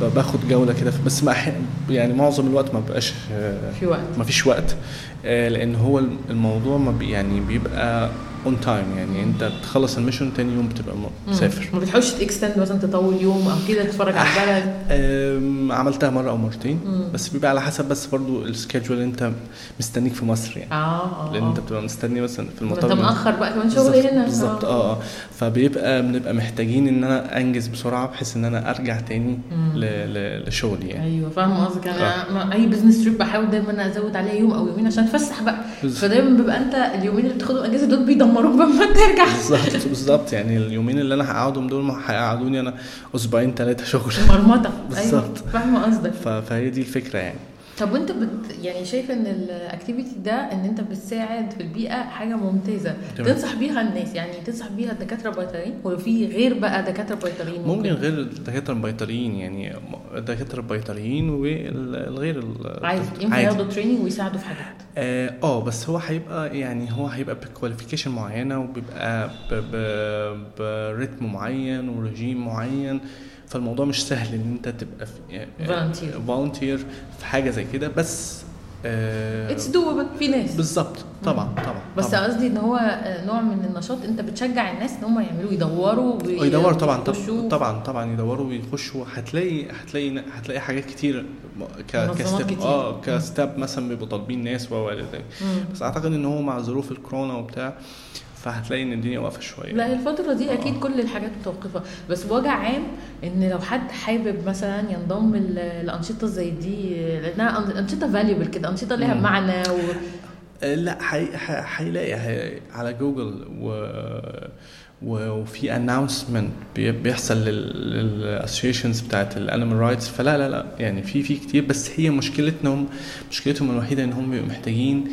C: ب- باخد جولة كده بس ما أح- يعني معظم الوقت ما بقاش آه،
A: في وقت
C: ما فيش وقت آه، لأن هو الموضوع ما بي يعني بيبقى اون تايم يعني أنت بتخلص الميشن تاني يوم بتبقى م-
A: مم.
C: مسافر
A: ما بتحاولش تكستند مثلا تطول يوم او كده تتفرج على البلد
C: آم، عملتها مرة أو مرتين
A: مم.
C: بس بيبقى على حسب بس برضو السكيدجول اللي أنت مستنيك في مصر يعني
A: اه اه
C: لأن أنت بتبقى مستني مثلا في
A: ما
C: المطار
A: انت
C: من-
A: مأخر بقى كمان شغل
C: بالظبط-
A: هنا آه.
C: بالظبط اه اه فبيبقى بنبقى محتاجين ان انا انجز بسرعه بحيث ان انا ارجع تاني
A: مم.
C: ل- ل- لشغلي يعني آه.
A: ايوه فاهم قصدك انا ما- اي بزنس تريب بحاول دايما ازود عليها يوم او يومين عشان اتفسح بقى
C: بالظبط.
A: فدايما بيبقى انت اليومين اللي بتاخدهم اجازه دول بيدمروك لما ترجع
C: بالظبط بالظبط يعني اليومين اللي انا هقعدهم دول ما هيقعدوني انا اسبوعين ثلاثه شغل
A: مرمطه
C: بالظبط.
A: ايوه فاهمه قصدك
C: ف- فهي دي الفكره يعني
A: طب وانت بت يعني شايفه ان الاكتيفيتي ده ان انت بتساعد في البيئه حاجه ممتازه
C: تمام.
A: تنصح بيها الناس يعني تنصح بيها الدكاتره البيطريين وفي غير بقى دكاتره بيطريين
C: ممكن غير الدكاتره البيطريين يعني الدكاتره البيطريين والغير ال-
A: عادي ينفع ياخدوا تريننج ويساعدوا في حاجات
C: اه آه، بس هو هيبقى يعني هو هيبقى بكواليفيكيشن معينه وبيبقى ب- ب- برتم معين ورجيم معين فالموضوع مش سهل ان انت تبقى في
A: Volunteer.
C: فولنتير في حاجه زي كده بس آه،
A: اتس دوبل في ناس
C: بالظبط طبعا طبعا
A: بس
C: طبعا
A: قصدي ان هو آه، نوع من النشاط انت بتشجع الناس ان هم يعملوا يدوروا وي-
C: يدور طبعا
A: ويخشوا.
C: طبعا طبعا طبعا يدوروا ويخشوا هتلاقي هتلاقي هتلاقي حاجات كتير ك
A: منظمات
C: كستيب
A: كتير.
C: اه كستاب مثلا بيبقوا طالبين ناس و و- بس اعتقد ان هو مع ظروف الكورونا وبتاع فهتلاقي ان الدنيا واقفه شويه
A: لا الفترة دي
C: آه.
A: أكيد كل الحاجات متوقفة بس بوجع عام إن لو حد حابب مثلا ينضم ل- لأنشطة زي دي لأنها أن- أنشطة فاليبل كده أنشطة ليها
C: مم.
A: معنى و...
C: آه، لا هي- ه- هيلاقي هي- على جوجل و و- وفي اناونسمنت بيحصل للاسوشيشنز بتاعت الانيمال رايتس فلا لا لا يعني في في كتير بس هي مشكلتهم مشكلتهم الوحيده ان هم بيبقوا محتاجين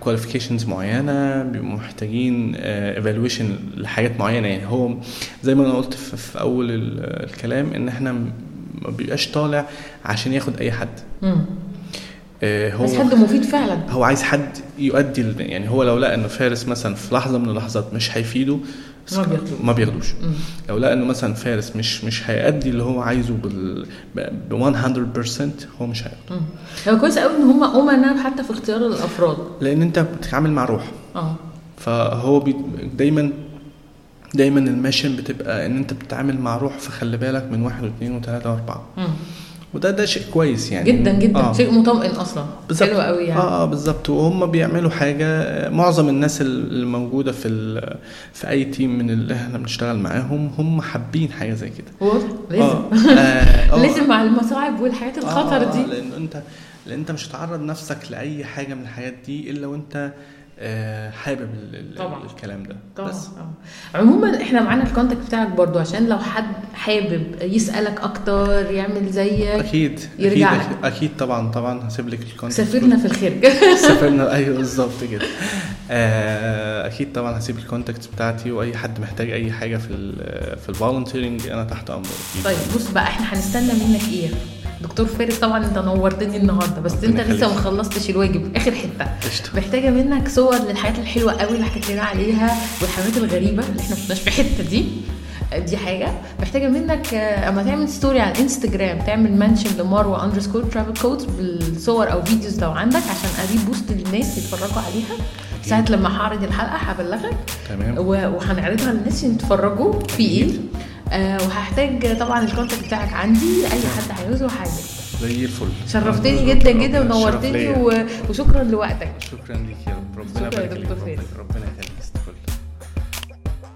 C: كواليفيكيشنز معينه بيبقوا محتاجين ايفالويشن لحاجات معينه يعني هو زي ما انا قلت في في اول ال- الكلام ان احنا م- ما بيبقاش طالع عشان ياخد اي حد
A: مم.
C: آه، هو
A: بس حد مفيد فعلا
C: هو عايز حد يؤدي ال- يعني هو لو لقى انه فارس مثلا في لحظه من اللحظات مش هيفيده
A: ما بياخدوش.
C: ما بياخدوش
A: مم.
C: لو لقى انه مثلا فارس مش مش هيأدي اللي هو عايزه بال ب 100% هو مش هيأدي
A: مم. هو كويس قوي ان هم امناء حتى في اختيار الافراد
C: لان انت بتتعامل مع روح
A: اه
C: فهو بي... دايما دايما الماشن بتبقى ان انت بتتعامل مع روح فخلي بالك من واحد واثنين وثلاثه واربعه
A: مم.
C: وده ده شيء كويس يعني
A: جدا جدا
C: آه.
A: آه. شيء مطمئن اصلا
C: بالظبط.
A: حلو قوي يعني
C: اه اه بالظبط وهم بيعملوا حاجه آه، معظم الناس اللي موجوده في ال- في اي تيم من اللي احنا بنشتغل معاهم هم حابين حاجه زي كده
A: واضح
C: آه،
A: لازم
C: آه، آه.
A: لازم مع المصاعب والحاجات الخطر
C: آه، آه،
A: دي
C: لان انت لان انت مش هتعرض نفسك لاي حاجه من الحاجات دي الا وانت آه، حابب ال- ال-
A: طبعاً.
C: الكلام ده
A: طبعا
C: بس
A: آه. عموما احنا معانا الكونتاكت بتاعك برضو عشان لو حد حابب يسالك اكتر يعمل زيك
C: اكيد
A: يرجع
C: اكيد أكيد- اكيد طبعا طبعا هسيب لك الكونتاكت
A: سافرنا في الخارج
C: سافرنا ايوه بالظبط كده آه، اكيد طبعا هسيب الكونتاكتس بتاعتي واي حد محتاج اي حاجه في ال في الفولنتيرنج انا تحت امره أكيد.
A: طيب بص بقى احنا هنستنى منك ايه دكتور فارس طبعا انت نورتني النهارده بس انت
C: ربنا
A: لسه ما
C: يخليك.
A: خلصتش الواجب اخر حته
C: قشطة.
A: محتاجه منك صور للحاجات الحلوه قوي اللي حكيت لنا عليها والحاجات الغريبه اللي احنا ما شفناش في حته دي دي حاجه محتاجه منك آه، اما تعمل ستوري على الانستجرام تعمل منشن لمروه اندرسكور ترافل كودز بالصور او فيديوز لو عندك عشان ادي بوست للناس يتفرجوا عليها ساعه لما هعرض الحلقه هبلغك
C: تمام.
A: و- وهنعرضها للناس عشان يتفرجوا في ايه
C: أكيد.
A: آه وهحتاج طبعا الكونتاكت بتاعك عندي لاي حد عايزه حاجه
C: زي الفل
A: شرفتني جدا جدا
C: ربنا- الشرف
A: ونورتني
C: ليا.
A: و... وشكرا لوقتك
C: شكرا ليك يا رب ربنا
A: شكرا يا
C: يبارك ليك
A: دكتور
C: ربنا-
A: فارس.
C: ربنا يخليك استغفر الله.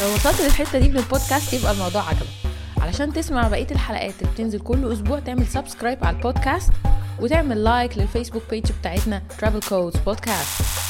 D: لو وصلت للحته دي من البودكاست يبقى الموضوع عجبك علشان تسمع بقيه الحلقات اللي بتنزل كل اسبوع تعمل سبسكرايب على البودكاست وتعمل لايك للفيسبوك بيج بتاعتنا Travel Codes Podcast